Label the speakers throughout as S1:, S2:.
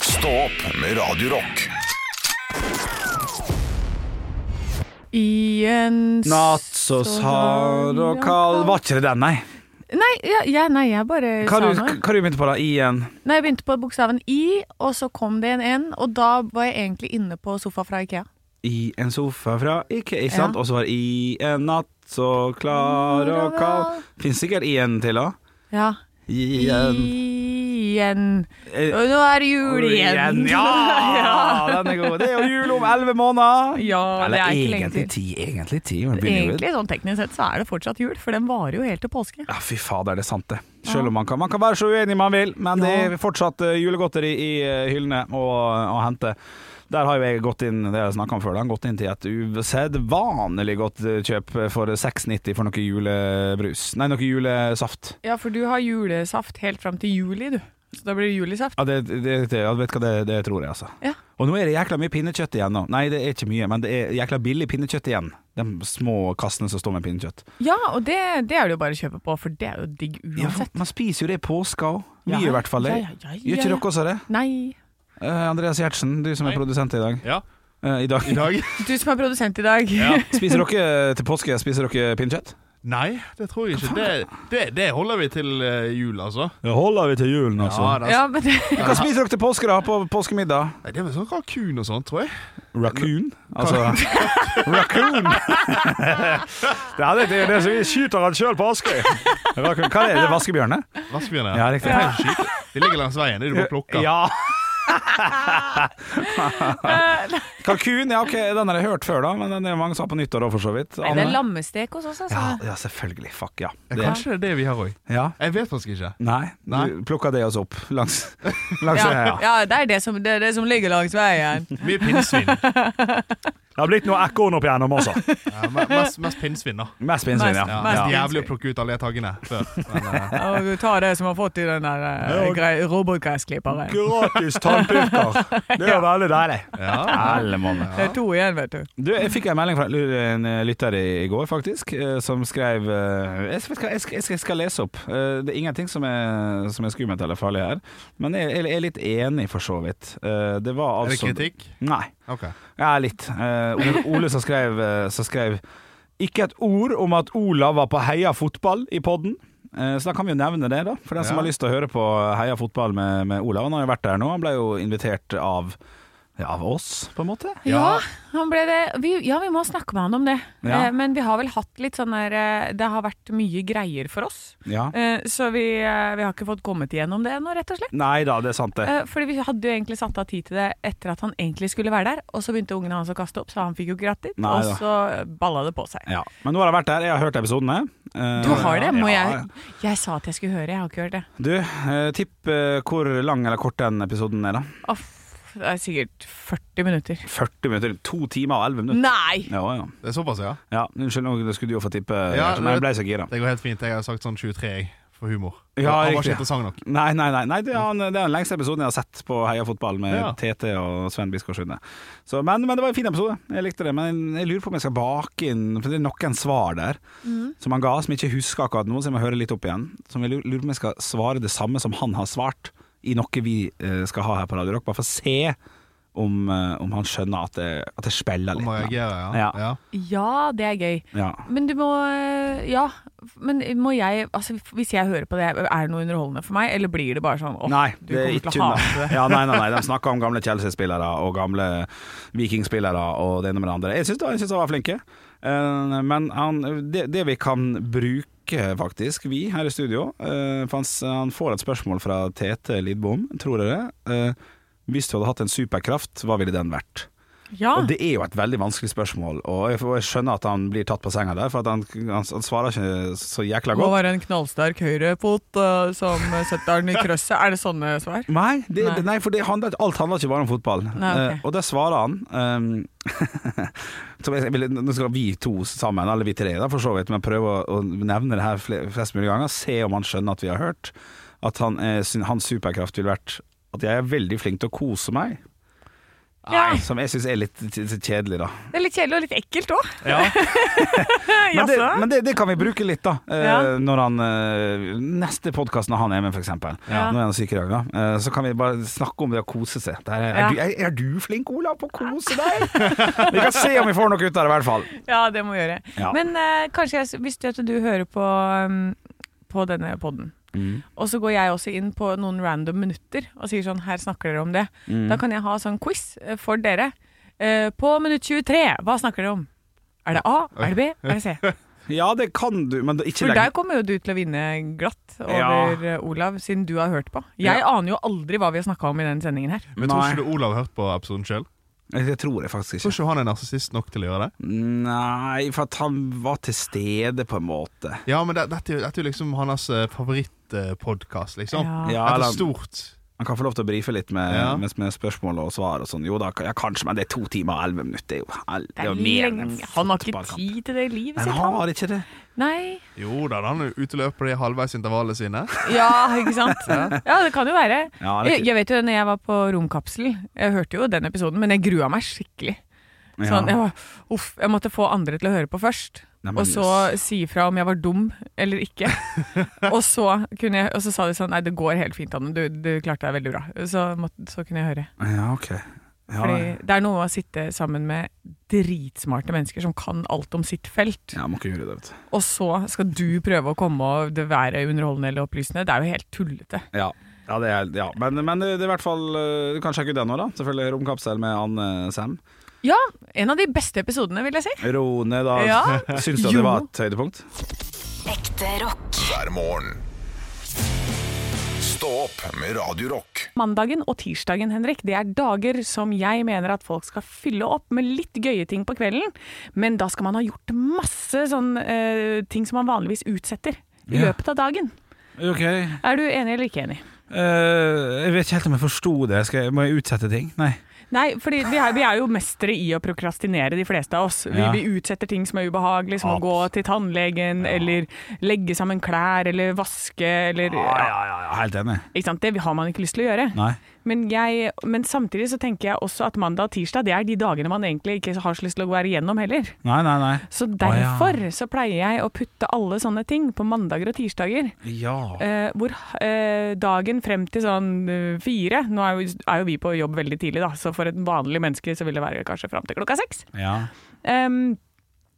S1: Stå opp med Radio Rock.
S2: I en
S3: Natt så sard og kald Var ikke det den, nei?
S2: Nei, ja, ja, nei, jeg bare
S3: Hva
S2: sa
S3: du,
S2: noe.
S3: hva du begynte på da? I en
S2: Nei, jeg begynte på bokstaven I, og så kom det en N, og da var jeg egentlig inne på sofa fra Ikea.
S3: I en sofa fra Ikea, ikke sant?
S2: Ja.
S3: Og så var det I en natt så klar og kald Finnes sikkert I en til òg.
S2: Ja.
S3: I en
S2: Igjen.
S3: eh,
S2: Og nå er det jul igjen.
S3: Ja! Den er god. Det er jo jul om elleve måneder.
S2: Ja, det
S3: Eller
S2: er ikke lenge
S3: egentlig
S2: til.
S3: ti. Egentlig ti. men det begynner jo-
S2: Egentlig, sånn teknisk sett, så er det fortsatt jul, for den varer jo helt til påske.
S3: Ja, fy fader, det er sant det. Selv om man kan, man kan være så uenig man vil, men det er fortsatt eh, julegodteri i eh, hyllene å, å hente. Der har jo jeg gått inn det har jeg snakket om før, da, gått inn til et usedvanlig godt eh, kjøp for 6,90 for noe julebrus. Nei, noe julesaft.
S2: Ja, for du har julesaft helt fram til juli, du. Så da blir det julesaft.
S3: Ja, det, det, det, ja, vet du hva det, det tror jeg, altså.
S2: Ja.
S3: Og nå er det jækla mye pinnekjøtt igjen nå. Nei, det er ikke mye, men det er jækla billig pinnekjøtt igjen. De små kassene som står med pinnekjøtt.
S2: Ja, og det, det er det jo bare å kjøpe på, for det er jo digg
S3: Ja,
S2: uansett.
S3: man spiser jo det i påska òg. Mye
S2: Ja,
S3: i hvert fall.
S2: ja,
S3: det.
S2: ja, ja, ja,
S3: Gjør ikke
S2: ja.
S3: dere også det?
S2: Nei.
S3: Eh, Andreas Gjertsen, du som er
S4: Hei.
S3: produsent i dag.
S4: Ja,
S3: Eh, I dag.
S4: i dag.
S2: Du som er produsent i dag.
S4: Ja.
S3: Spiser dere eh, til påske Spiser dere pinnekjøtt?
S4: Nei, det tror jeg ikke. Det, det, det holder vi til eh, jul, altså.
S3: Det holder vi til julen, altså?
S4: Ja, det,
S2: Ja, men det,
S3: Hva spiser dere til påske, da? På påskemiddag?
S4: Nei, det er vel sånn kalkun og sånt, tror jeg.
S3: Raccoon? Altså Raccoon! det er det, det, er det som vi skyter han sjøl på Askøy. Raccoon. Hva er det? Vaskebjørne?
S4: Vaskebjørn,
S3: Ja, riktig.
S4: Det er jo skyte. De ligger langs veien, det er du bare plukker.
S3: Ja. Kalkun, ja ok, den har jeg hørt før, da. Men den er mange som har på nyttår òg, for så vidt.
S2: Men det er
S3: Anne?
S2: lammestek hos oss,
S3: ja,
S2: altså.
S3: ja, selvfølgelig. Fuck, ja.
S4: Ja,
S3: Det,
S4: Kanskje det er det vi har òg.
S3: ja.
S4: Jeg vet faktisk ikke.
S3: Nei,
S4: Nei.
S3: du plukka det også opp langs, langs
S2: Ja,
S3: ja.
S2: ja det er det som, det er det som ligger langs veien.
S4: Mye pinnsvin.
S3: Det har blitt noe ekorn opp igjennom også.
S4: Ja, me- mest, mest pinnsvin, da.
S3: Mest pinnsvin,
S2: Mest-
S3: ja.
S4: Ja,
S2: Mest
S4: det er
S2: pinnsvin.
S4: Jævlig å plukke ut alle taggene før. Men, eh,
S2: Og du tar det som har fått i den der eh,
S3: Ja.
S2: grei- robotgressklipperen.
S3: Gratis tannpirker. Det er veldig deilig.
S4: ja.
S2: Det er to igjen, vet du.
S3: Du, jeg fikk en melding fra en eh, lytter i i går, faktisk, eh, som skrev eh, Jeg, vet hva, jeg, skal, jeg skal- jeg skal lese opp. Eh, Det er ingenting som er, som er skummelt eller farlig her, men jeg, jeg er litt enig, for så vidt. Eh, Det var
S4: Er det
S3: altså
S4: kritikk?
S3: Nei.
S4: Ok.
S3: Ja, litt. Eh, Ole, Ole som skrev, eh, som skrev Ikke et ord om at Olav var på Heia fotball i podden. Eh, Så da kan vi jo nevne det, da. For den som
S4: Ja.
S3: har lyst til å høre på Heia fotball med, med Olav. Han har jo vært der nå. Han ble jo invitert av ja, av oss, på en måte.
S2: Ja, han ble det. Vi, ja, vi må snakke med han om det.
S3: Ja.
S2: Eh, Men vi har vel hatt litt sånn der eh, Det har vært mye greier for oss.
S3: Ja.
S2: Eh, Så vi, eh, vi har ikke fått kommet igjennom det ennå, rett og slett.
S3: Nei da, det er sant, det.
S2: Eh, Fordi vi hadde jo egentlig satt av tid til det etter at han egentlig skulle være der, og så begynte ungene hans å kaste opp, så han fikk jo ikke dratt dit.
S3: Nei
S2: Og
S3: da.
S2: så balla det på seg.
S3: Ja. Men nå har jeg vært der. Jeg har hørt episodene. Eh,
S2: Du har det? Må
S3: ja,
S2: jeg Jeg sa at jeg skulle høre, jeg har ikke hørt det.
S3: Du, eh, tipp eh, hvor lang eller kort den episoden er, da.
S2: Uff, det er sikkert 40 minutter.
S3: 40 minutter? To timer og 11 minutter?
S2: Nei!
S3: Ja, ja.
S4: Det er såpass, ja?
S3: ja Unnskyld, nå skulle du jo få tippe,
S4: Ja,
S3: men jeg ble så gira.
S4: Det går helt fint. Jeg har sagt sånn 23 jeg, for humor.
S3: Ja,
S4: Han var
S3: riktig.
S4: ikke interessant nok.
S3: Nei, nei, nei, nei det, er, det er den lengste episoden jeg har sett på Heia fotball med
S4: Ja.
S3: TT og Sven Biskår Sunde. Så, men, men det var en fin episode, jeg likte det. Men jeg lurer på om jeg skal bake inn For det er noen svar der som han ga, som jeg ikke husker akkurat nå, så jeg må høre litt opp igjen. Som jeg lurer- lurer på om jeg skal svare det samme som han har svart i noe vi eh, skal ha her på Radio Rock, bare for å se om, eh, om han skjønner at jeg, at jeg spiller
S4: Han
S3: litt.
S4: må reagere, ja.
S3: Ja.
S4: ja.
S2: Ja, det er gøy.
S3: Ja.
S2: Men du må eh, Ja, men må jeg Altså, hvis jeg hører på det, er det noe underholdende for meg, eller blir det bare sånn åh,
S3: Nei,
S2: du
S3: det er
S2: kommer
S3: ikke
S2: til å hate
S3: unna. Ja, nei, nei, nei, De snakker om gamle Chelsea-spillere og gamle Viking-spillere og det ene med det andre. Jeg syns de var flinke, Eh, men han, det, det vi kan bruke faktisk, vi her i studio eh, for han, s- han får et spørsmål fra Tete Lidbom, tror jeg det. eh, Hvis du hadde hatt en superkraft, hva ville den vært?
S2: Ja.
S3: Og Det er jo et veldig vanskelig spørsmål, og jeg, og jeg skjønner at han blir tatt på senga der, for at han, han, han svarer ikke så jækla godt.
S2: være en knallsterk høyrefot uh, som setter den i krøsset. Er det sånne svar?
S3: Nei, det,
S2: Nei.
S3: nei. for det handler, alt handler ikke bare om fotball.
S2: Nei, ok.
S3: Eh, og der svarer han ehm, som jeg, vil- Nå skal vi to sammen, eller vi tre da, for så vidt, men prøve å, å nevne det her fle- flest mulig ganger. Se om han skjønner at vi har hørt at han, eh, sin, hans superkraft ville vært at jeg er veldig flink til å kose meg.
S2: Ja,
S3: Som jeg syns er litt t- t- kjedelig, da.
S2: det er litt kjedelig og litt ekkelt òg.
S4: Ja.
S3: Men det, men det, det kan vi bruke litt, da. eh,
S2: Ja.
S3: Når han eh, Neste podkast når han er med, f.eks.
S2: Ja.
S3: Nå er han syk i dag, da. Eh, Så kan vi bare snakke om det å kose seg. Det her er,
S2: Ja.
S3: er, du, er, er du flink, Olav, på å kose deg? vi kan se om vi får noe ut av det, i hvert fall.
S2: Ja, det må vi gjøre.
S3: Ja.
S2: Men eh, kanskje jeg, s- hvis du, at du hører på, um, på denne podden,
S3: Mm.
S2: og så går jeg også inn på noen random minutter og sier sånn, her snakker dere om det.
S3: Mm.
S2: Da kan jeg ha sånn quiz eh, for dere. Eh, på minutt 23, hva snakker dere om? Er det A, er det B, er det C?
S3: Ja, det kan du, men da- ikke
S2: For der
S3: legg
S2: kommer jo du til å vinne glatt over
S3: Ja.
S2: eh, Olav, siden du har hørt på. Jeg aner jo aldri hva vi har snakka om i denne sendingen her.
S4: Men tror ikke du Olav har hørt på episoden sjøl?
S3: Det tror jeg faktisk ikke.
S4: Tror ikke han er narsissist nok til å gjøre det?
S3: Nei, for at han var til stede, på en måte.
S4: Ja, men det, dette, er jo- dette er jo liksom hans favorittpodkast, liksom.
S2: Ja.
S3: Ja,
S4: Dette
S3: eller-
S4: er stort.
S3: Han kan få lov til å brife litt med,
S4: Ja.
S3: med, med spørsmål og svar og sånn. Jo da, ja, kanskje, men det er to timer og elleve minutter. Det er jo, hel-
S2: Det
S3: jo
S2: er
S3: mer enn en
S2: lenge. Han har ikke
S3: fotballkamp.
S2: tid til det i livet
S3: Men
S2: sitt.
S3: han
S2: Han.
S3: har ikke det.
S2: Nei.
S4: Jo da, han uteløper de halvveis intervallene sine.
S2: Ja, ikke sant? Ja, det kan jo være.
S3: Ja, det er
S2: Jeg, jeg vet jo, når jeg var på Romkapsel Jeg hørte jo den episoden, men jeg grua meg skikkelig. Sånn, jeg, var, uff, jeg måtte få andre til å høre på først,
S3: Nei, men
S2: og så si ifra om jeg var dum eller ikke. og, så kunne jeg, og så sa de sånn Nei, det går helt fint, Anne. Du, du klarte deg veldig bra. Så, måtte, så kunne jeg høre.
S3: Ja, ok. Ja,
S2: Fordi det er noe å sitte sammen med dritsmarte mennesker som kan alt om sitt felt,
S3: ja, må ikke gjøre det, vet du.
S2: og så skal du prøve å komme og det være underholdende eller opplysende. Det er jo helt tullete.
S3: Ja. Ja, det er, ja. Men, men det det er i hvert fall eh, Du kan sjekke ut den nå, da. Selvfølgelig Romkapsel med Anne Sem.
S2: Ja, en av de beste episodene, vil jeg si.
S3: Ro ned, da.
S2: Ja.
S3: Syns du at
S2: Jo.
S3: det var et høydepunkt?
S5: Ekte rock.
S1: hver morgen. Stå opp med Radio Rock.
S2: Mandagen og tirsdagen, Henrik, det er dager som jeg mener at folk skal fylle opp med litt gøye ting på kvelden, men da skal man ha gjort masse sånn eh, ting som man vanligvis utsetter i
S3: Ja.
S2: løpet av dagen.
S3: Ok. Eh,
S2: Er du enig eller ikke enig?
S3: jeg vet ikke helt om jeg forsto det. må jeg utsette ting? Nei.
S2: Nei, for vi, er- vi er jo mestere i å prokrastinere, de fleste av oss. Vi,
S3: Ja.
S2: vi utsetter ting som er ubehagelig, som å gå til tannlegen, eller legge sammen klær, eller vaske, eller
S3: Ja, Ah, ja, ja, ja. Helt enig.
S2: Ikke sant? Det har man ikke lyst til å gjøre.
S3: Nei.
S2: Men, jeg, men samtidig så tenker jeg også at mandag og tirsdag det er de dagene man egentlig ikke har så lyst til å være igjennom heller.
S3: Nei, nei, nei.
S2: Så
S3: ja.
S2: derfor så pleier jeg å putte alle sånne ting på mandager og tirsdager.
S3: Ja.
S2: Eh, hvor eh, dagen frem til sånn eh, fire Nå er jo, er jo vi på jobb veldig tidlig, da, så for et vanlig menneske så vil det være kanskje frem til klokka seks.
S3: Ja.
S2: Em,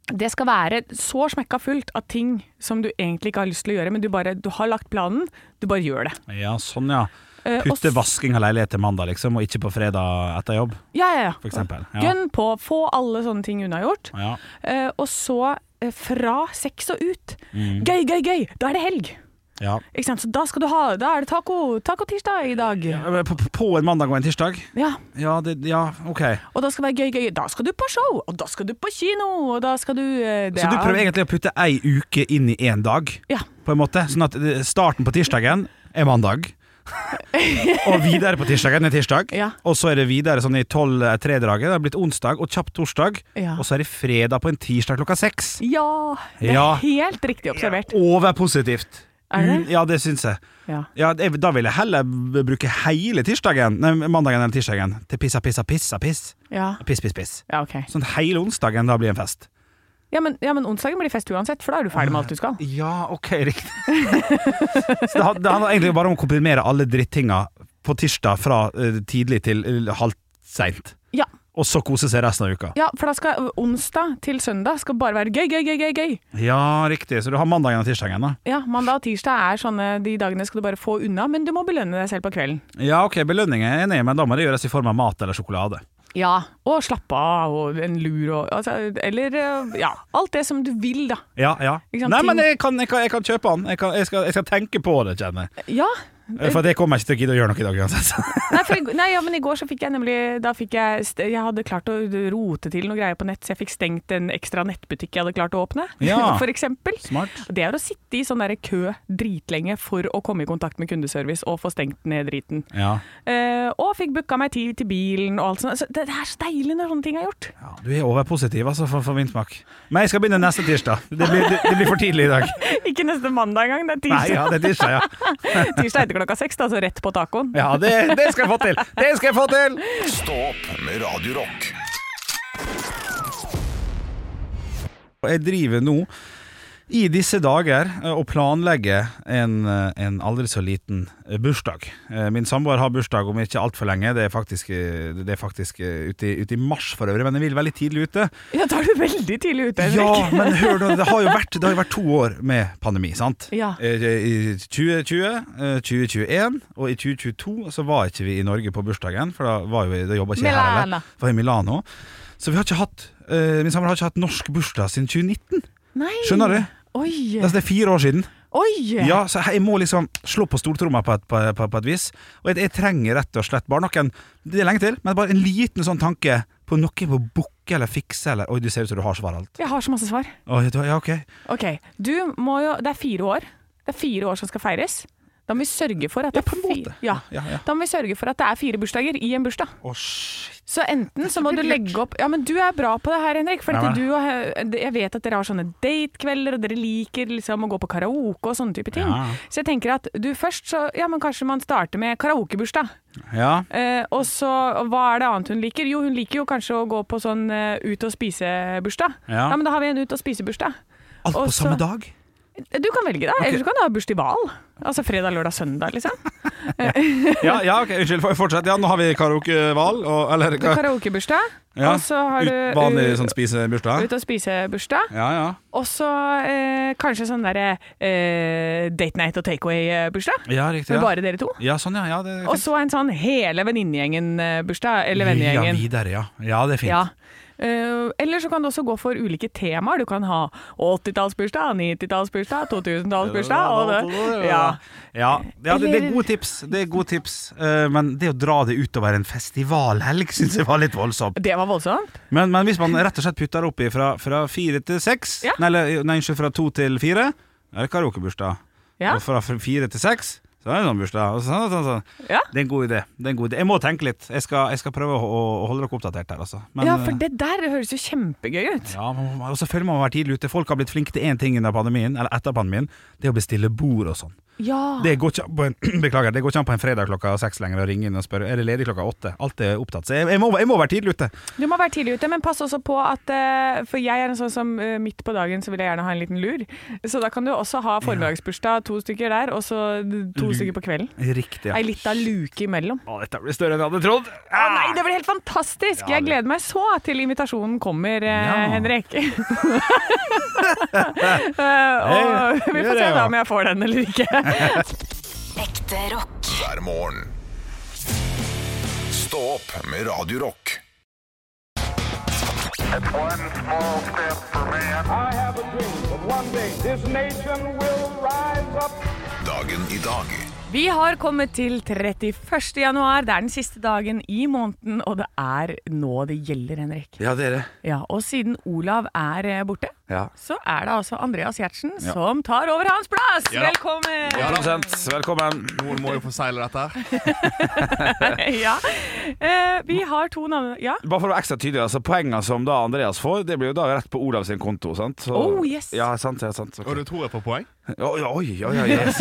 S2: det skal være så smekka fullt av ting som du egentlig ikke har lyst til å gjøre, men du bare du har lagt planen, du bare gjør det.
S3: ja, sånn ja.
S2: Eh, og
S3: Putte
S2: s-
S3: vasking av leilighet til mandag, liksom, og ikke på fredag etter jobb,
S2: Ja, ja, ja.
S3: for eksempel. Ja.
S2: Gønn på, få alle sånne ting unnagjort.
S3: Ja.
S2: Eh, og så eh, fra sex og ut.
S3: Mm.
S2: Gøy, gøy, gøy! Da er det helg.
S3: Ja.
S2: Ikke sant? Så da skal du ha Da er det taco, tacotirsdag i dag. Ja.
S3: Eh, På, på- på en mandag og en tirsdag? Ja, det, ja ok.
S2: Og da skal det være gøy, gøy. Da skal du på show, og da skal du på kino, og da skal du eh, det
S3: Så du
S2: er-
S3: prøver egentlig å putte ei uke inn i én dag,
S2: Ja.
S3: på en måte? Sånn at eh, starten på tirsdagen er mandag. og videre på tirsdagen er tirsdag,
S2: Ja.
S3: og så er det videre sånn i tolv-tre-draget. Det har blitt onsdag og kjapt torsdag,
S2: Ja.
S3: og så er det fredag på en tirsdag klokka seks.
S2: Ja, det er
S3: Ja.
S2: helt riktig observert.
S3: Overpositivt.
S2: Er det?
S3: Mm, Ja, det syns jeg.
S2: Ja.
S3: Ja, det- da vil jeg heller b- bruke hele tirsdagen Nei, mandagen eller tirsdagen til pissa, pissa, pissa, piss.
S2: Ja,
S3: Piss, piss, piss.
S2: ja ok.
S3: Sånn at hele onsdagen da blir en fest.
S2: Ja men, ja, men onsdagen blir fest uansett, for da er du ferdig med alt du skal.
S3: Ja, ok, riktig. Så det, han- det handler egentlig bare om å komprimere alle drittinga på tirsdag fra eh, tidlig til eh, halvt seint.
S2: Ja,
S3: Og så kose seg resten av uka.
S2: ja for da skal onsdag til søndag skal bare være gøy, gøy, gøy, gøy. gøy.
S3: Ja, riktig. Så du har mandagen og tirsdagen, da.
S2: Ja, mandag og tirsdag er sånne De dagene skal du bare få unna, men du må belønne deg selv på kvelden.
S3: Ja, ok, belønning er jeg enig i, men da må det gjøres i form av mat eller sjokolade.
S2: Ja, og slappe av og en lur og altså, Eller eh, ja, alt det som du vil, da.
S3: Ja, ja.
S2: Ikke sant,
S3: Nei, men
S2: ting-
S3: jeg kan, jeg kan, jeg kan kjøpe den. Jeg, kan, jeg, skal, jeg skal tenke på det, kjenner jeg.
S2: Ja.
S3: Eh, For det kommer jeg ikke til å gidde å gjøre noe i dag uansett.
S2: Nei, for, i- nei ja, men i går så fikk jeg nemlig Da fikk jeg st- Jeg hadde klart å rote til noe greier på nett, så jeg fikk stengt en ekstra nettbutikk jeg hadde klart å åpne,
S3: Ja.
S2: for eksempel.
S3: Smart.
S2: Og Det er å sitte i sånn derre kø dritlenge for å komme i kontakt med kundeservice og få stengt ned driten.
S3: Ja.
S2: Eh, og fikk booka meg tid til bilen og alt sånt. Så det, det er så deilig når sånne ting er gjort.
S3: Du er overpositiv altså, for, for min smak. Men jeg skal begynne neste tirsdag. Det blir, det, det blir for tidlig i dag.
S2: Ikke neste mandag engang, det er
S3: Nei,
S2: tirsdag.
S3: ja, det er tirsdag, ja.
S2: Tirsdag etter etter klokka seks, da, så rett på tacoen.
S3: Ja, det, det skal jeg få til! Det skal jeg få til!
S1: Stå opp med Radio Rock.
S3: Og Jeg driver nå i disse dager eh, og planlegger en, eh, en aldri så liten eh, bursdag. Eh, Min samboer har bursdag om ikke altfor lenge. Det er faktisk, eh, det er faktisk eh, ute i, ute i mars for øvrig, men jeg vil veldig tidlig ute.
S2: Ja, da er du veldig tidlig ute,
S3: Ja,
S2: Henrik.
S3: men hør nå, det har jo vært, det har jo vært to år med pandemi, sant?
S2: Ja.
S3: Eh, I 2020, eh, 2021 og i 2022 så var ikke vi i Norge på bursdagen, for da, var jo, vi- da jobba ikke jeg her
S2: Milano.
S3: heller. Var i Milano. Så vi har ikke hatt, eh, min samboer har ikke hatt norsk bursdag siden 2019.
S2: Nei.
S3: Skjønner du?
S2: Oi.
S3: Altså, det er fire år siden.
S2: Oi.
S3: Ja, så jeg må liksom slå på stortromma på, et- på, på, på et vis. Og jeg, jeg trenger rett og slett bare noen Det er lenge til, men bare en liten sånn tanke på noe jeg må booke eller fikse eller Oi, du ser ut som du har svar alt.
S2: Jeg har så masse svar.
S3: Oi, du- ja, ok.
S2: Ok, du må jo Det er fire år. Det er fire år som skal feires. Da må vi sørge for at
S3: Ja,
S2: det
S3: på en
S2: er fi-
S3: måte.
S2: Ja.
S3: Ja, ja.
S2: Da må vi sørge for at det er fire bursdager i en bursdag.
S3: Å, shit.
S2: Så enten så må du legge opp Ja, men du er bra på det her, Henrik. For
S3: Ja,
S2: at
S3: men-
S2: du og, jeg vet at dere har sånne datekvelder, og dere liker liksom å gå på karaoke og sånne type ting.
S3: Ja.
S2: Så jeg tenker at du først så Ja, men kanskje man starter med karaokebursdag.
S3: Ja.
S2: Eh, og så hva er det annet hun liker? Jo, hun liker jo kanskje å gå på sånn eh, ut og spise-bursdag.
S3: Ja.
S2: men da har vi en ut og spise-bursdag.
S3: Alt på
S2: Også-
S3: samme dag?
S2: Du kan velge, da. Eller så kan du ha bursdagsbal. Altså fredag, lørdag, søndag, liksom.
S3: Ja, ja, ok, unnskyld, for- fortsett. Ja, nå har vi karaokeval, og eller
S2: Du har Karaokebursdag,
S3: ja,
S2: og så har du
S3: ut- Vanlig
S2: eh,
S3: sånn spisebursdag?
S2: ut og spise-bursdag.
S3: Ja, ja.
S2: Og så eh, kanskje sånn derre eh, date night og takeaway-bursdag.
S3: Ja, riktig.
S2: Med
S3: Ja.
S2: bare dere to.
S3: ja, sånn, ja. ja det er
S2: Og
S3: fint.
S2: så en sånn hele venninnegjengen-bursdag. Eller vennegjengen.
S3: Ja, videre, ja. Ja, det er fint.
S2: Ja. Eh, eller så kan du også gå for ulike temaer. Du kan ha 80-tallsbursdag, 90-tallsbursdag, 2000-tallsbursdag og det. Ja.
S3: Ja, ja det, det er
S2: Eller-
S3: gode tips, det er gode tips. Eh, men det å dra det utover en festivalhelg syns jeg var litt voldsomt.
S2: Det var voldsomt.
S3: Men, men hvis man rett og slett putter opp i fra, fra fire til seks,
S2: Ja.
S3: nei, eller, nei, unnskyld, fra to til fire, da er det karaokebursdag.
S2: Ja.
S3: Og fra f- fire til seks så er det sånn bursdag. Og sånn, sånn, sånn.
S2: Ja.
S3: Det er en god idé. Det er en god idé. Jeg må tenke litt. Jeg skal, jeg skal prøve å, å å holde dere oppdatert her, altså. Men,
S2: ja, for det der høres jo kjempegøy ut.
S3: ja, man må- og selvfølgelig må man være tidlig ute. Folk har blitt flinke til én ting under pandemien, eller etter pandemien. Det å bestille bord og sånn.
S2: Ja.
S3: Det går ikke an på en, beklager, det går ikke an på en fredag klokka seks lenger å ringe inn og spørre Er det ledig klokka åtte. Alt er opptatt. Så jeg, jeg, må, jeg må være tidlig ute.
S2: Du må være tidlig ute, men pass også på at eh, For jeg er en sånn som eh, midt på dagen så vil jeg gjerne ha en liten lur. Så da kan du også ha formiddagsbursdag, to stykker der, og så to
S3: Lur.
S2: stykker på kvelden.
S3: Riktig. Ja.
S2: Ei lita luke imellom.
S3: Å, dette blir større enn jeg hadde trodd.
S2: Å nei, det blir helt fantastisk!
S3: Ah. Ja,
S2: Jeg
S3: det-
S2: gleder meg så til invitasjonen kommer, eh,
S3: Ja.
S2: Henrik. Eh, og vi
S3: gjør
S2: får se
S3: det,
S2: da
S3: ja.
S2: om jeg får den eller ikke.
S6: Ekte rock.
S1: hver morgen. Stå opp med Radio Rock.
S7: I have a dream that one day this nation will rise up.
S1: Dagen i dag
S2: Vi har kommet til 31. januar. Det er den siste dagen i måneden, og det er nå det gjelder, Henrik.
S8: Ja, det er det.
S2: Ja, Og siden Olav er eh, borte,
S8: Ja.
S2: så er det altså Andreas Gjertsen som tar over hans plass!
S4: Ja da.
S2: Velkommen!
S4: Ja da.
S3: Velkommen.
S4: Noen må jo forsegle dette her.
S2: Ja. Eh, vi har to navn Ja.
S8: Bare for å være ekstra tydelig, altså Poengene som da Andreas får, det blir jo da rett på Olav sin konto. sant? Så,
S2: Oh, yes.
S8: Ja, sant, ja, sant ok.
S4: Og du tror jeg får poeng?
S8: Oi, oi, oi, oi, yes.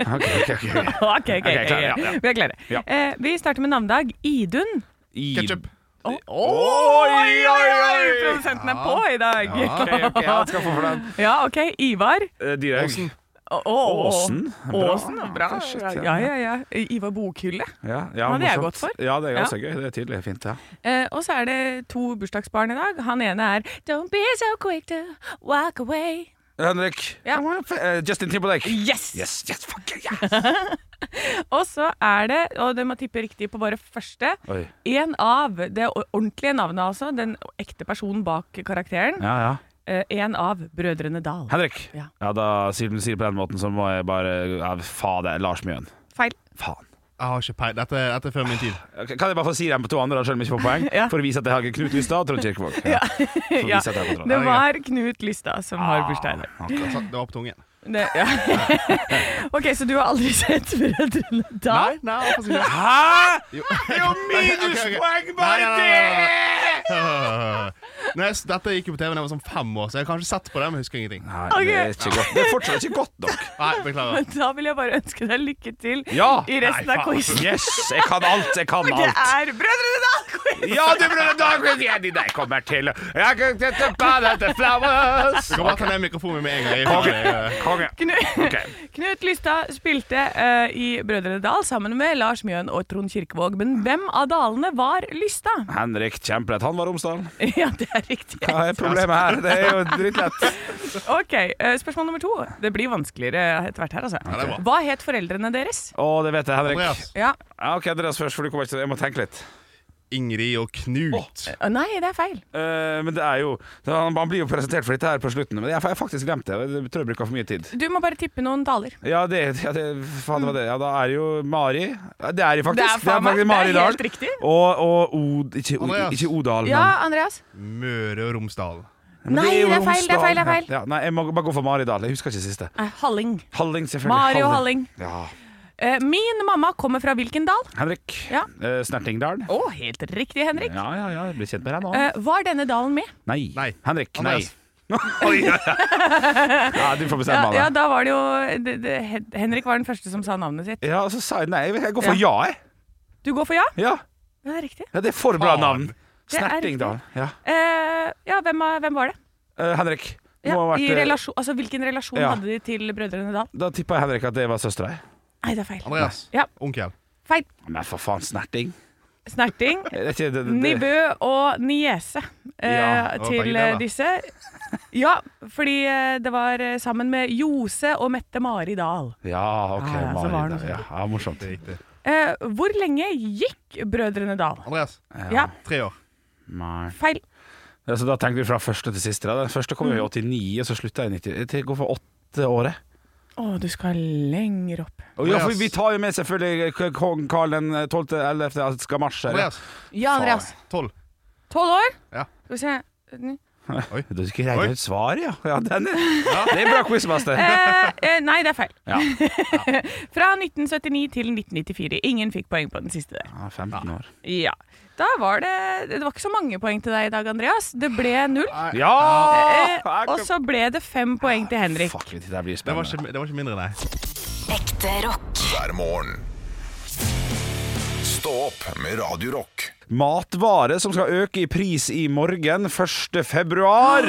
S8: Ok, ok, ok.
S2: Ok, ok, ok,
S8: klar, ja, ja.
S2: Vi er klare.
S8: Ja.
S2: Eh, vi starter med navnedag. Idun.
S8: I-
S4: Ketchup.
S2: Oi,
S8: Oi, oi, oi!
S2: Produsenten er på i dag. Ja,
S8: Ok, ok, han skal få for den.
S2: ok. Ivar.
S8: Eh, Dyrhaug.
S2: Å, å, å.
S8: Åsen. Bra.
S2: Åsen, bra.
S8: Shit, ja.
S2: Ja, ja, ja. Ivar Bokhylle.
S8: Ja, ja,
S2: Han er jeg
S8: morsomt.
S2: godt for.
S8: Ja, det er ganske gøy. Det er tydelig. Fint, ja.
S2: Eh, og så er det to bursdagsbarn i dag. Han ene er Don't be so quick to walk away.
S8: Henrik.
S2: Ja.
S8: Eh, Justin Timberlake.
S2: Yes!
S8: Yes, yes, fuck yeah!
S2: Og så er det, og dere må tippe riktig på bare første,
S8: Oi.
S2: en av det ordentlige navnet, altså. Den ekte personen bak karakteren.
S8: Ja, ja.
S2: Eh, en av Brødrene Dal.
S8: Henrik.
S2: Ja.
S8: Ja, da sier du sier det på den måten, så må jeg bare ja, Fader, Lars Mjøen.
S2: Feil.
S8: Faen.
S4: Jeg har ikke peil. Dette, dette er før min tid.
S8: Kan jeg bare få si dem på to andre, da, selv om jeg ikke får poeng?
S2: Ja.
S8: For å vise at jeg har Knut Lystad og Trond Kirkevåg. Ja. For å
S2: Ja.
S8: vise at jeg har kontroll.
S2: Det var Knut Lystad som har bursdag i dag.
S4: Altså, Det var på tungen.
S2: Det, ja. ok, så du har aldri sett Brødrene Dal?
S4: Nei, nei, jeg får si det.
S8: Hæ?!
S4: Jo.
S8: Det er jo
S4: minuspoeng, bare
S8: det!
S4: Øh, Når jeg, dette gikk jo på TV da jeg var sånn fem år, så jeg har kanskje sett på det, men jeg husker ingenting.
S3: Nei, det er ikke godt. Det er fortsatt ikke godt nok.
S4: Nei, beklager.
S2: Da vil jeg bare ønske deg lykke til
S3: Ja!
S2: i resten
S4: Nei,
S2: av
S4: faen.
S2: quizen.
S3: Yes! Jeg kan alt! Jeg kan
S2: Det
S3: alt!
S2: er Brødrene Dal-quiz!
S3: Ja, du brødre dagen igjen i deg kommer til Jeg kan tette badet til flowers
S4: Du kan bare ta ned mikrofonen min med en gang. Jeg hører det.
S3: Konge.
S2: Knut, Knut Lystad spilte eh, i Brødrene Dal sammen med Lars Mjøen og Trond Kirkevåg. Men hvem av dalene var Lystad?
S3: Henrik Kjempelett, han var Romsdal.
S2: Ja, det er riktig.
S3: Hva er problemet her? Det er jo drittlett.
S2: Ok, eh, Spørsmål nummer to. Det blir vanskeligere etter hvert her, altså.
S4: det er bra.
S2: Hva het foreldrene deres?
S3: Å, det vet jeg, Henrik.
S4: Andreas,
S2: Ja,
S3: Ja, ok, Andreas først, for du kommer ikke til Jeg må tenke litt.
S4: Ingrid og Knut.
S2: Å, Nei, det er feil.
S3: Eh, men det er jo det- Han han blir jo presentert for dette her på slutten, men jeg har faktisk glemt det. Jeg tror jeg bruker for mye tid.
S2: Du må bare tippe noen daler.
S3: Ja, det, ja, det, faen, det var det. Ja, da er det jo Mari. Ja, Det er jo faktisk.
S2: Det er faen meg-
S3: faktisk Mari
S2: det er helt
S3: Dahl.
S2: riktig.
S3: Og, og Od, ikke, Od,
S4: Andreas.
S3: ikke Odal,
S2: Ja, Andreas?
S4: Møre og Romsdal.
S3: men
S2: Nei,
S3: jo
S2: det er feil, det er
S3: Romsdal.
S2: feil, det er feil.
S3: Ja, nei, jeg må bare gå for Mari Dahl. Jeg husker ikke siste.
S2: Nei, Eh, Halling.
S3: Halling, selvfølgelig.
S2: Mari og Halling.
S3: Ja.
S2: Eh, Min mamma kommer fra hvilken dal?
S3: Henrik.
S2: Ja.
S3: Eh, Snertingdal.
S2: Å, helt riktig, Henrik.
S3: Ja, ja, ja. Jeg blir kjent med deg nå.
S2: Eh, var denne dalen med?
S3: nei.
S4: Nei.
S3: Henrik, nei.
S4: Andreas.
S3: Oi, ja, ja. ja, du
S2: Ja,
S3: får
S2: ja,
S3: bestemme ja,
S2: da var det jo det, det, Hen- Henrik var den første som sa navnet sitt.
S3: Ja, og så sa jeg nei. Jeg går for ja, jeg.
S2: Du går for ja?
S3: Ja.
S2: Det er riktig.
S3: ja, det er for bra
S4: Faen.
S3: navn.
S2: Det er
S3: Snertingdal. Ja.
S2: Eh, ja, hvem, er- hvem var det?
S3: Eh, Henrik. Må
S2: Ja,
S3: ha vært,
S2: i
S3: eh,
S2: relasjon, altså, hvilken relasjon
S3: ja.
S2: hadde de til Brødrene Dal?
S3: Da tippa jeg Henrik at det var søstera.
S2: Nei, det er feil.
S4: Andreas.
S2: Ja.
S4: Onkel.
S2: Feil.
S3: Men for faen, snerting.
S2: Snerting,
S3: Det er ikke det, det, det.
S2: nivø og niese eh,
S3: Ja,
S4: det var begge
S2: til
S4: deler.
S2: eh, disse. Ja, fordi eh, det var eh, sammen med Jose og Mette-Mari Dahl.
S3: Ja, OK.
S2: Ah, ja, så
S3: Mari,
S2: var det
S3: da.
S2: noe
S3: ja, ja, morsomt.
S4: Det er riktig.
S2: Eh, hvor lenge gikk Brødrene Dal?
S4: Andreas.
S2: Ja,
S4: Tre år.
S3: Nei.
S2: feil.
S3: Ja, så da tenker vi fra første til siste. Da. Den første kom jo i
S2: Mm.
S3: 89, og så slutta jeg i 90. Det går for åtte året.
S2: Å, du skal lenger opp.
S3: Og ja, for vi tar jo med selvfølgelig k- kong Karl den 12. 11. altså, skal marsje. eller?
S4: Andreas.
S2: Ja, Andreas.
S4: Tolv.
S2: Tolv år?
S4: Ja.
S2: Skal vi se Ni-
S3: Du skulle regne
S4: Oi.
S3: ut svaret, ja. ja den er. Det er bra quizmaster.
S2: eh, eh, Nei, det er feil.
S3: Ja.
S2: Fra 1979 til 1994. Ingen fikk poeng på den siste der.
S3: Ja, 15 år.
S2: Ja. Da var det Det var ikke så mange poeng til deg i dag, Andreas. Det ble null.
S3: Ja!
S2: Eh,
S3: Her
S2: og
S3: kom-
S2: så ble det fem poeng til Henrik.
S3: Fuck, det der blir
S4: Det var,
S3: spennende.
S4: ikke, det var ikke mindre, nei.
S9: Ekte rock.
S1: hver morgen. Stå opp med Radio Rock.
S3: Matvare som skal øke i pris i morgen, 1. februar.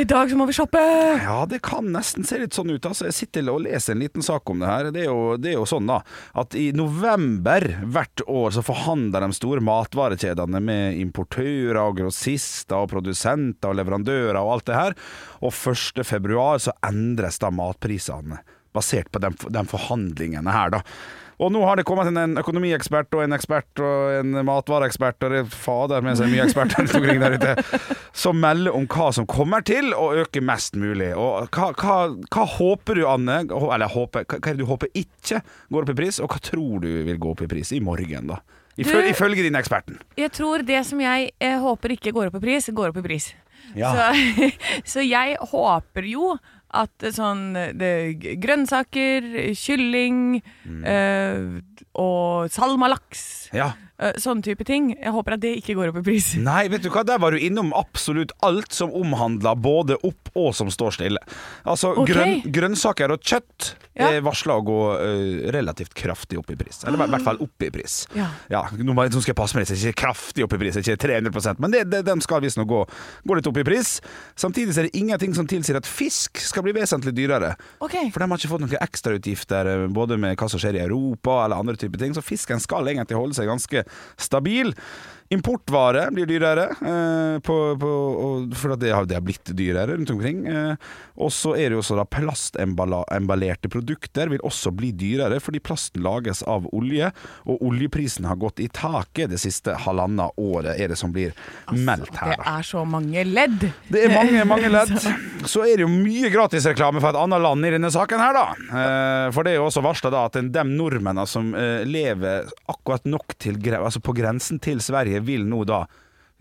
S2: I dag så må vi shoppe!
S3: Ja, det kan nesten se litt sånn ut. Altså, jeg sitter og leser en liten sak om det her. Det er jo, det er jo sånn da, at i november hvert år så forhandler de store matvarekjedene med importører og grossister og produsenter og leverandører og alt det her. Og 1. februar så endres da matprisene, basert på de, de forhandlingene her da. Og nå har det kommet inn en økonomiekspert og en ekspert og en matvareekspert og det er fader med seg mye eksperter rundt omkring der ute, som melder om hva som kommer til å øke mest mulig. Og hva, hva, hva håper du, Anne, hå- eller håper, hva, hva er det du håper ikke går opp i pris, og hva tror du vil gå opp i pris i morgen, da? Ifø-
S2: Du-
S3: Ifølge din eksperten.
S2: Jeg tror det som jeg eh, håper ikke går opp i pris, går opp i pris.
S3: Ja.
S2: Så, så jeg håper jo at sånn det, grønnsaker, kylling eh, og salmalaks,
S3: Mm. ja.
S2: eh, sånne type ting, jeg håper at det ikke går opp i pris.
S3: Nei, vet du hva, der var du innom absolutt alt som omhandler både opp og som står stille. Altså,
S2: Ok.
S3: grønn, grønnsaker og kjøtt
S2: Ja.
S3: er varsla å gå ø, relativt kraftig opp i pris. Eller i hvert fall opp i pris.
S2: Ja.
S3: nå, må, jeg- nå skal jeg passe meg litt, så jeg er ikke kraftig opp i pris, jeg er ikke 300 men det, det, den skal visstnok gå, gå litt opp i pris. Samtidig så er det ingenting som tilsier at fisk skal bli vesentlig dyrere.
S2: Ok.
S3: For de har ikke fått noen ekstrautgifter eh, både med hva som skjer i Europa eller andre typer ting, så fisken skal egentlig holde seg ganske stabil. Importvare blir dyrere, eh, på, på, og, for at det har, det har blitt dyrere rundt omkring. Eh, og så er det jo også da plastembalerte produkter vil også bli dyrere, fordi plasten lages av olje, og oljeprisen har gått i taket det siste halvannet året, er det som blir meldt her.
S2: Det
S3: da.
S2: er så mange ledd.
S3: Det er mange, mange ledd. Så er det jo mye gratisreklame fra et annet land i denne saken her, da. Eh, For det er jo også varsla at en- de nordmennene som eh, lever akkurat nok til, gre- altså på grensen til Sverige, vil nå da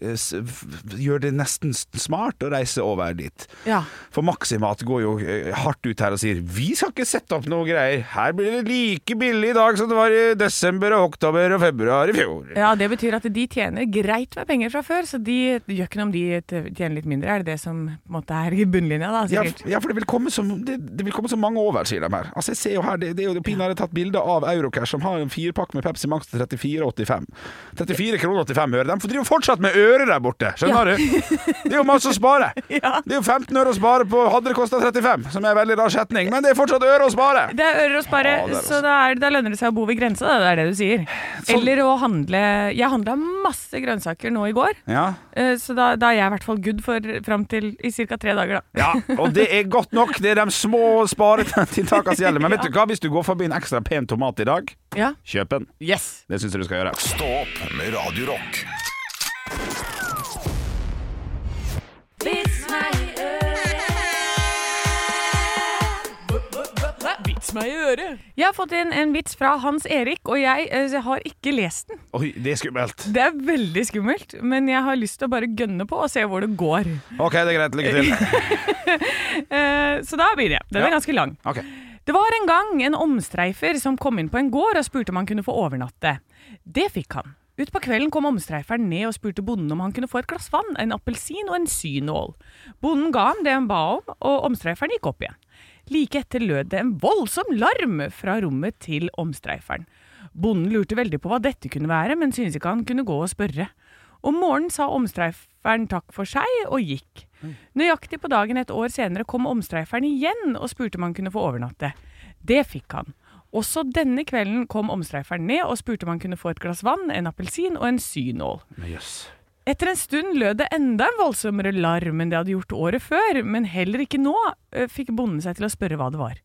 S3: eh, s- f- gjør det nesten s- smart å reise over dit.
S2: Ja.
S3: For Maximat går jo eh, hardt ut her og sier Vi skal ikke sette opp noe greier. Her blir det like billig i dag som det var i desember og oktober og februar i fjor.
S2: ja, det betyr at de tjener greit med penger fra før, så de det gjør ikke noe om de t- tjener litt mindre. Er det det som på en måte er i bunnlinja, da?
S3: Ja,
S2: Sikkert.
S3: f- ja, for det vil, komme så, det, det vil komme så mange over, sier de her. Altså, jeg ser jo her, Det, det er jo pinadø tatt bilde av Eurocash, som har en firpakke med Pepsi Max til 34,85. 34 kroner 85 øre. De driver fortsatt med øre der borte, skjønner du? Det er jo masse å spare.
S2: Ja.
S3: Det er jo 15 øre å spare på hadde det kosta 35, som er en veldig rar setning, men det er fortsatt øre å spare.
S2: Det er ører å spare,
S3: Ja, det er det
S2: så da, er, da lønner det seg å bo ved grensa, da. Det er det du sier. Eller å handle Jeg handla masse grønnsaker nå i går,
S3: Ja.
S2: eh, så da, da er jeg i hvert fall good for fram til i ca. tre dager, da.
S3: Ja, og det er godt nok. Det er de små sparetiltakene som gjelder. Men vet du hva, hvis du går forbi en ekstra pen tomat i dag,
S2: Ja.
S3: kjøp den.
S2: Yes.
S3: Det syns jeg du skal gjøre.
S1: Stå opp med Radio Rock.
S2: Vits meg i øret. Jeg har fått inn en vits fra Hans Erik, og jeg, eh, jeg har ikke lest den.
S3: Oi, det er skummelt.
S2: Det er veldig skummelt, men jeg har lyst til å bare gønne på og se hvor det går.
S3: OK, det er greit. Lykke til.
S2: Eh, Så da begynner jeg. Den er
S3: Ja.
S2: ganske lang.
S3: Ok.
S2: Det var en gang en omstreifer som kom inn på en gård og spurte om han kunne få overnatte. Det fikk han. Utpå kvelden kom omstreiferen ned og spurte bonden om han kunne få et glass vann, en appelsin og en synål. Bonden ga ham det han ba om, og omstreiferen gikk opp igjen. Like etter lød det en voldsom larm fra rommet til omstreiferen. Bonden lurte veldig på hva dette kunne være, men syntes ikke han kunne gå og spørre. Om morgenen sa omstreiferen takk for seg og gikk. Nøyaktig på dagen et år senere kom omstreiferen igjen og spurte om han kunne få overnatte. Det fikk han. Også denne kvelden kom omstreiferen ned og spurte om han kunne få et glass vann, en appelsin og en synål. Etter en stund lød det enda en voldsommere larm enn det hadde gjort året før, men heller ikke nå eh, fikk bonden seg til å spørre hva det var.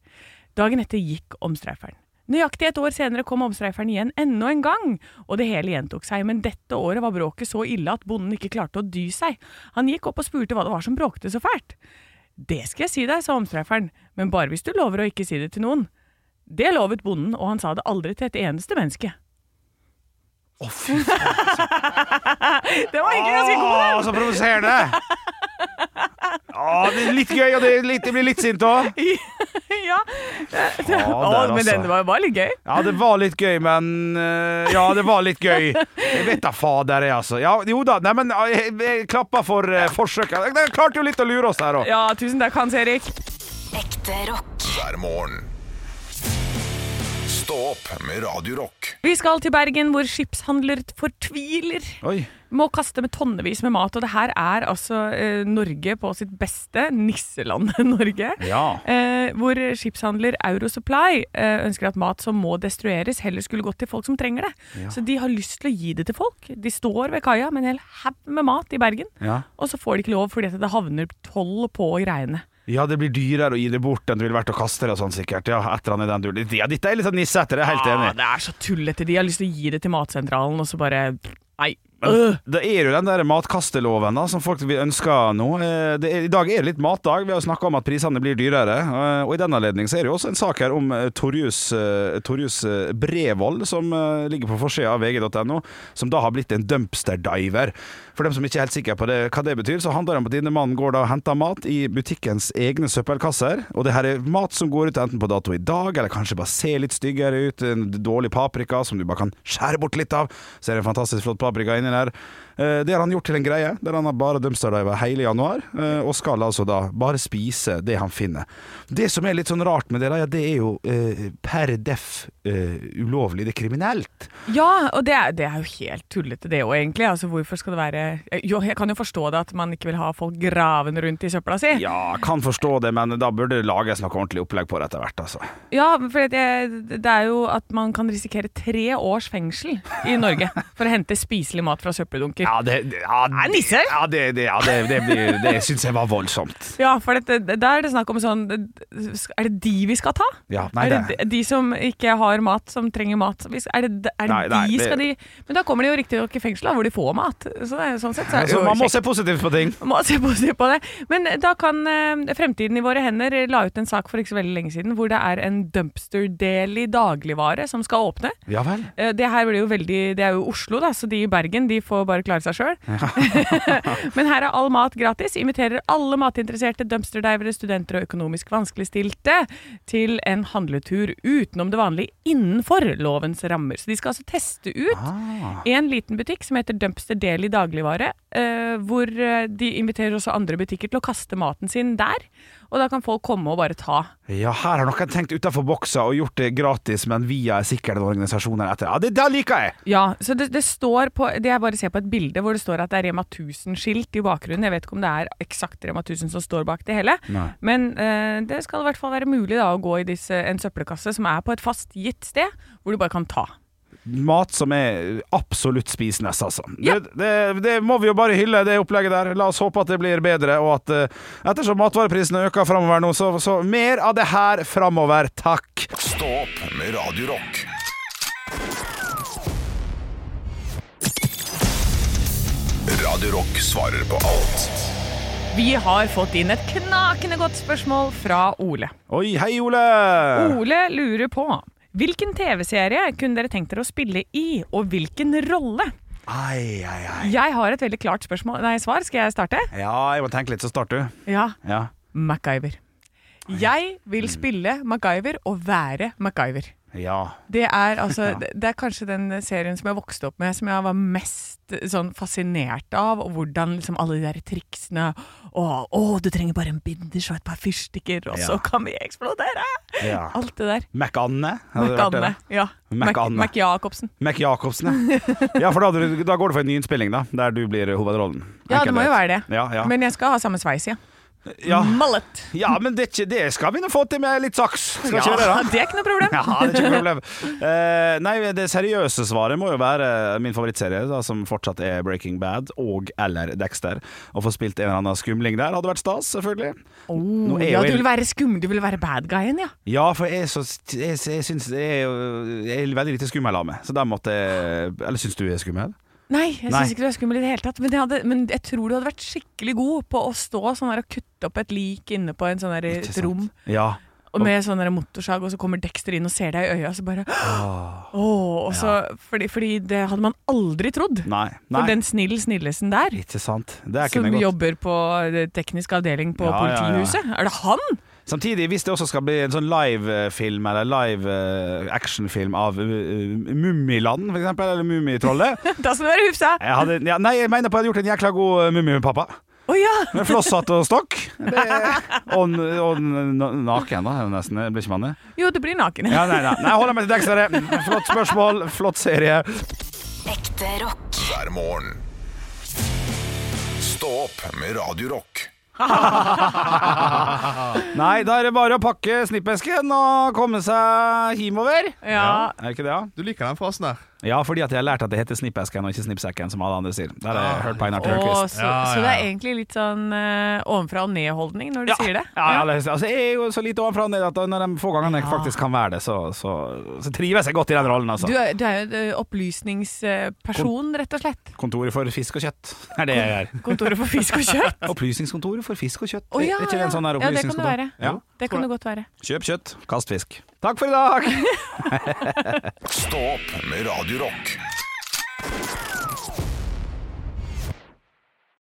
S2: Dagen etter gikk omstreiferen. Nøyaktig et år senere kom omstreiferen igjen enda en gang, og det hele gjentok seg, men dette året var bråket så ille at bonden ikke klarte å dy seg. Han gikk opp og spurte hva det var som bråkte så fælt. Det skal jeg si deg, sa omstreiferen, men bare hvis du lover å ikke si det til noen. Det lovet bonden, og han sa det aldri til et eneste menneske. Det var egentlig ganske god!
S3: Å, så provoserende! Å, det er litt gøy, og det, er litt, jeg blir litt sint òg.
S2: ja. Å,
S3: der,
S2: men
S3: altså.
S2: den var, var litt gøy.
S3: Ja, det var litt gøy, men eh, Ja, det var litt gøy. Jeg vet da fader, jeg, altså. Ja, jo da, nei, men eh, jeg, jeg klapper for eh, forsøket. De klarte jo litt å lure oss der òg.
S2: Ja, tusen takk, Hans Erik.
S9: Ekte rock.
S1: hver morgen. Stå opp med Radio Rock.
S2: Vi skal til Bergen, hvor skipshandler fortviler.
S3: Oi.
S2: Må kaste med tonnevis med mat, og det her er altså eh, Norge på sitt beste. Nisselandet Norge.
S3: Ja.
S2: Eh, hvor skipshandler Eurosupply eh, ønsker at mat som må destrueres, heller skulle gått til folk som trenger det. Så de har lyst til å gi det til folk. De står ved kaia med en hel haug med mat i Bergen,
S3: Ja.
S2: og så får de ikke lov fordi at det havner toll på greiene.
S3: Ja, det blir dyrere å gi det bort enn det ville vært å kaste det og sånn, sikkert. Ja, etter han i den duren. Ja, dette er litt sånn nisse etter, jeg er helt
S2: Ja,
S3: enig.
S2: Ah, det er så tullete. De har lyst til å gi det til matsentralen, og så bare Nei.
S3: Men
S2: Øh.
S3: det er jo den der matkasteloven da, som folk vil ønske nå. Eh, Det er, I dag er det litt matdag. Vi har snakka om at prisene blir dyrere. Eh, Og i den anledning så er det jo også en sak her om eh, Torjus, eh, Torjus eh, Brevold, som eh, ligger på forsida av vg.no, som da har blitt en dumpsterdiver. For dem som ikke er helt sikre på det, hva det betyr, så handler det om at denne mannen går da og henter mat i butikkens egne søppelkasser. Og det her er mat som går ut enten på dato i dag, eller kanskje bare ser litt styggere ut. En dårlig paprika som du bare kan skjære bort litt av. Så er det en fantastisk flott paprika inni der. Eh, Det har han gjort til en greie, der han har bare dumpsterdiva hele januar, eh, og skal altså da bare spise det han finner. Det som er litt sånn rart med det, da, ja, det er jo eh, per deff eh, ulovlig. Det er kriminelt.
S2: Ja, og det er, det er jo helt tullete det òg, egentlig. Altså, hvorfor skal det være eh, Jo, jeg kan jo forstå det at man ikke vil ha folk gravende rundt i søpla si.
S3: Ja, kan forstå det, men da burde det lages noe ordentlig opplegg på det etter hvert, altså.
S2: Ja, for det, det er jo at man kan risikere tre års fengsel i Norge for å hente spiselig mat fra søppeldunker.
S3: Ja, det, det- ja,
S2: Er det nisse?
S3: Ja, det, det, ja, det, det, blir- det syns jeg var voldsomt.
S2: Ja, for dette- der er det snakk om sånn Er det de vi skal ta?
S3: Ja, nei,
S2: er det
S3: det-
S2: de, de som ikke har mat, som trenger mat? Hvis- Er det, er det
S3: Nei, nei,
S2: de
S3: det-
S2: skal de Men da kommer de jo riktignok i fengsel, da, hvor de får mat. Så det er, jo sånn sett så er det
S3: Så
S2: jo
S3: Altså, man må
S2: kjekt.
S3: se positivt på ting.
S2: Man må se positivt på det. Men da kan eh, Fremtiden i våre hender la ut en sak for ikke så veldig lenge siden hvor det er en dumpster-del i dagligvare som skal åpne.
S3: Ja vel.
S2: Eh, Det her blir jo veldig, det er jo Oslo, da, så de i Bergen Matbutikken de får bare klare seg sjøl. Men her er all mat gratis. Inviterer alle matinteresserte, dumpsterdivere, studenter og økonomisk vanskeligstilte til en handletur utenom det vanlige innenfor lovens rammer. Så de skal altså teste ut en liten butikk som heter Dumpster Deli dagligvare, eh, hvor eh, de inviterer også andre butikker til å kaste maten sin der. Og da kan folk komme og bare ta.
S3: Ja, her har noen tenkt utenfor boksa og gjort det gratis, men via sikrede organisasjoner etter. Ja, det, det liker jeg!
S2: Ja, så det, det står på det Jeg bare ser på et bilde hvor det står at det er Rema 1000-skilt i bakgrunnen. Jeg vet ikke om det er eksakt Rema 1000 som står bak det hele.
S3: Nei.
S2: Men eh, det skal i hvert fall være mulig da å gå i disse, en søppelkasse som er på et fast gitt sted, hvor du bare kan ta.
S3: Mat som er absolutt spisende, altså.
S2: Ja.
S3: Det, det, det må vi jo bare hylle, det opplegget der. La oss håpe at det blir bedre, og at eh, ettersom matvareprisene øker framover nå, så, så mer av det her framover, takk.
S1: Stå opp med Radio Rock. Radio Rock svarer på alt.
S2: Vi har fått inn et knakende godt spørsmål fra Ole.
S3: Oi, hei, Ole!
S2: Ole lurer på Hvilken TV-serie kunne dere tenkt dere å spille i, og hvilken rolle?
S3: Ai, ai, ai.
S2: Jeg har et veldig klart spørsmål, nei, svar. Skal jeg starte?
S3: Ja, jeg må tenke litt, så starter du.
S2: Ja.
S3: Ja.
S2: MacGyver. Jeg vil
S3: Mm.
S2: spille MacGyver og være MacGyver.
S3: ja.
S2: Det er, altså, det det er kanskje den serien som jeg vokste opp med, som jeg var mest eh, sånn, fascinert av. Og hvordan liksom, alle de der triksene og, Å, du trenger bare en binders og et par fyrstikker, og
S3: Ja.
S2: så kan vi eksplodere!
S3: Ja.
S2: Alt det der.
S3: Mac-Anne? hadde det vært det, da?
S2: Mac-Anne. Ja. Mac-
S3: Mac-Anne.
S2: Mac-Jacobsen.
S3: Mac Jacobsen, ja. ja for da, hadde du- da går det for en ny innspilling, da, der du blir hovedrollen.
S2: Ja, det
S3: Enkel
S2: må jo
S3: rett.
S2: være det.
S3: Ja, ja.
S2: Men jeg skal ha samme sveis, ja.
S3: ja.
S2: Mallet.
S3: ja, men det, er ikke- det skal vi nå få til med litt saks. Skal ikke vi det, da?
S2: det er ikke noe problem.
S3: Ja, det er ikke noe problem. Eh, nei, det seriøse svaret må jo være min favorittserie, da, som fortsatt er Breaking Bad og eller Dexter. Å få spilt en eller annen skumling der hadde vært stas, selvfølgelig. Nå
S2: Oh,
S3: er
S2: ja,
S3: jo
S2: du
S3: en-
S2: vil være skum, du vil være bad guyen, ja.
S3: Ja, for jeg, er så, jeg, jeg syns jeg, er jo- jeg er veldig lite skummel av meg, så der måtte jeg Eller syns du jeg er skummel?
S2: Nei, jeg
S3: Nei.
S2: syns ikke du er skummel i det hele tatt. Men, det hadde, men jeg tror du hadde vært skikkelig god på å stå sånn her og kutte opp et lik inne på en sånn her,
S3: Ikke
S2: et
S3: sant?
S2: rom
S3: Ja.
S2: og med sånn her motorsag, og så kommer Dexter inn og ser deg i øya, og så bare Åh, og så, fordi, fordi det hadde man aldri trodd.
S3: Nei.
S2: For
S3: nei.
S2: den snill snillesen der,
S3: Ikke sant. Det er ikke
S2: som
S3: noe godt.
S2: jobber på eh, teknisk avdeling på
S3: Ja, ja, ja.
S2: politihuset, er det han?
S3: Samtidig, hvis det også skal bli en sånn livefilm eller live eh, actionfilm av uh, Mummiland, for eksempel, eller Mummitrollet
S2: Da skal du være hufsa!
S3: jeg hadde, ja, Nei, jeg mener på at jeg hadde gjort en jækla god eh, Mummipappa.
S2: Å ja!
S3: Med flosshatt og stokk. Det, og, n- og n- naken, da, er det nesten. det Blir ikke man det?
S2: Jo, du blir naken.
S3: Ja, nei, nei. nei jeg holder meg til Dexter. Flott spørsmål, flott serie.
S9: Ekte rock.
S1: hver morgen. Stå opp med Radio Rock.
S3: Nei, da er det bare å pakke snippesken og komme seg himover.
S2: Ja.
S3: Er det ikke det, ja?
S4: Du liker den frasen der.
S3: Ja, fordi at jeg har lært at det heter snippesken og ikke snippsekken, som alle andre sier. Der har jeg hørt på Einar Tørnquist.
S2: Og så,
S4: Ja,
S2: så det
S4: ja,
S2: er
S4: ja.
S2: egentlig litt sånn eh, ovenfra og ned-holdning når du sier det?
S3: Ja, ja, altså, jeg er jo så lite ovenfra og ned at når de få gangene jeg faktisk kan være det, så, så, så trives jeg godt i den rollen, altså.
S2: Du er, du er jo en ø, opplysningsperson, rett og slett.
S3: Kontoret for fisk og kjøtt er det jeg gjør.
S2: Kontoret for fisk og kjøtt.
S3: Opplysningskontoret for fisk og kjøtt.
S2: Å, ja,
S3: er ikke det
S2: ja.
S3: en sånn her
S2: ja, det kan det
S3: opplysningskontor?
S2: være. Det kan det godt være.
S3: Ja. Kjøp kjøtt, kast fisk. Takk for i dag!
S1: Stå opp med Radio Rock.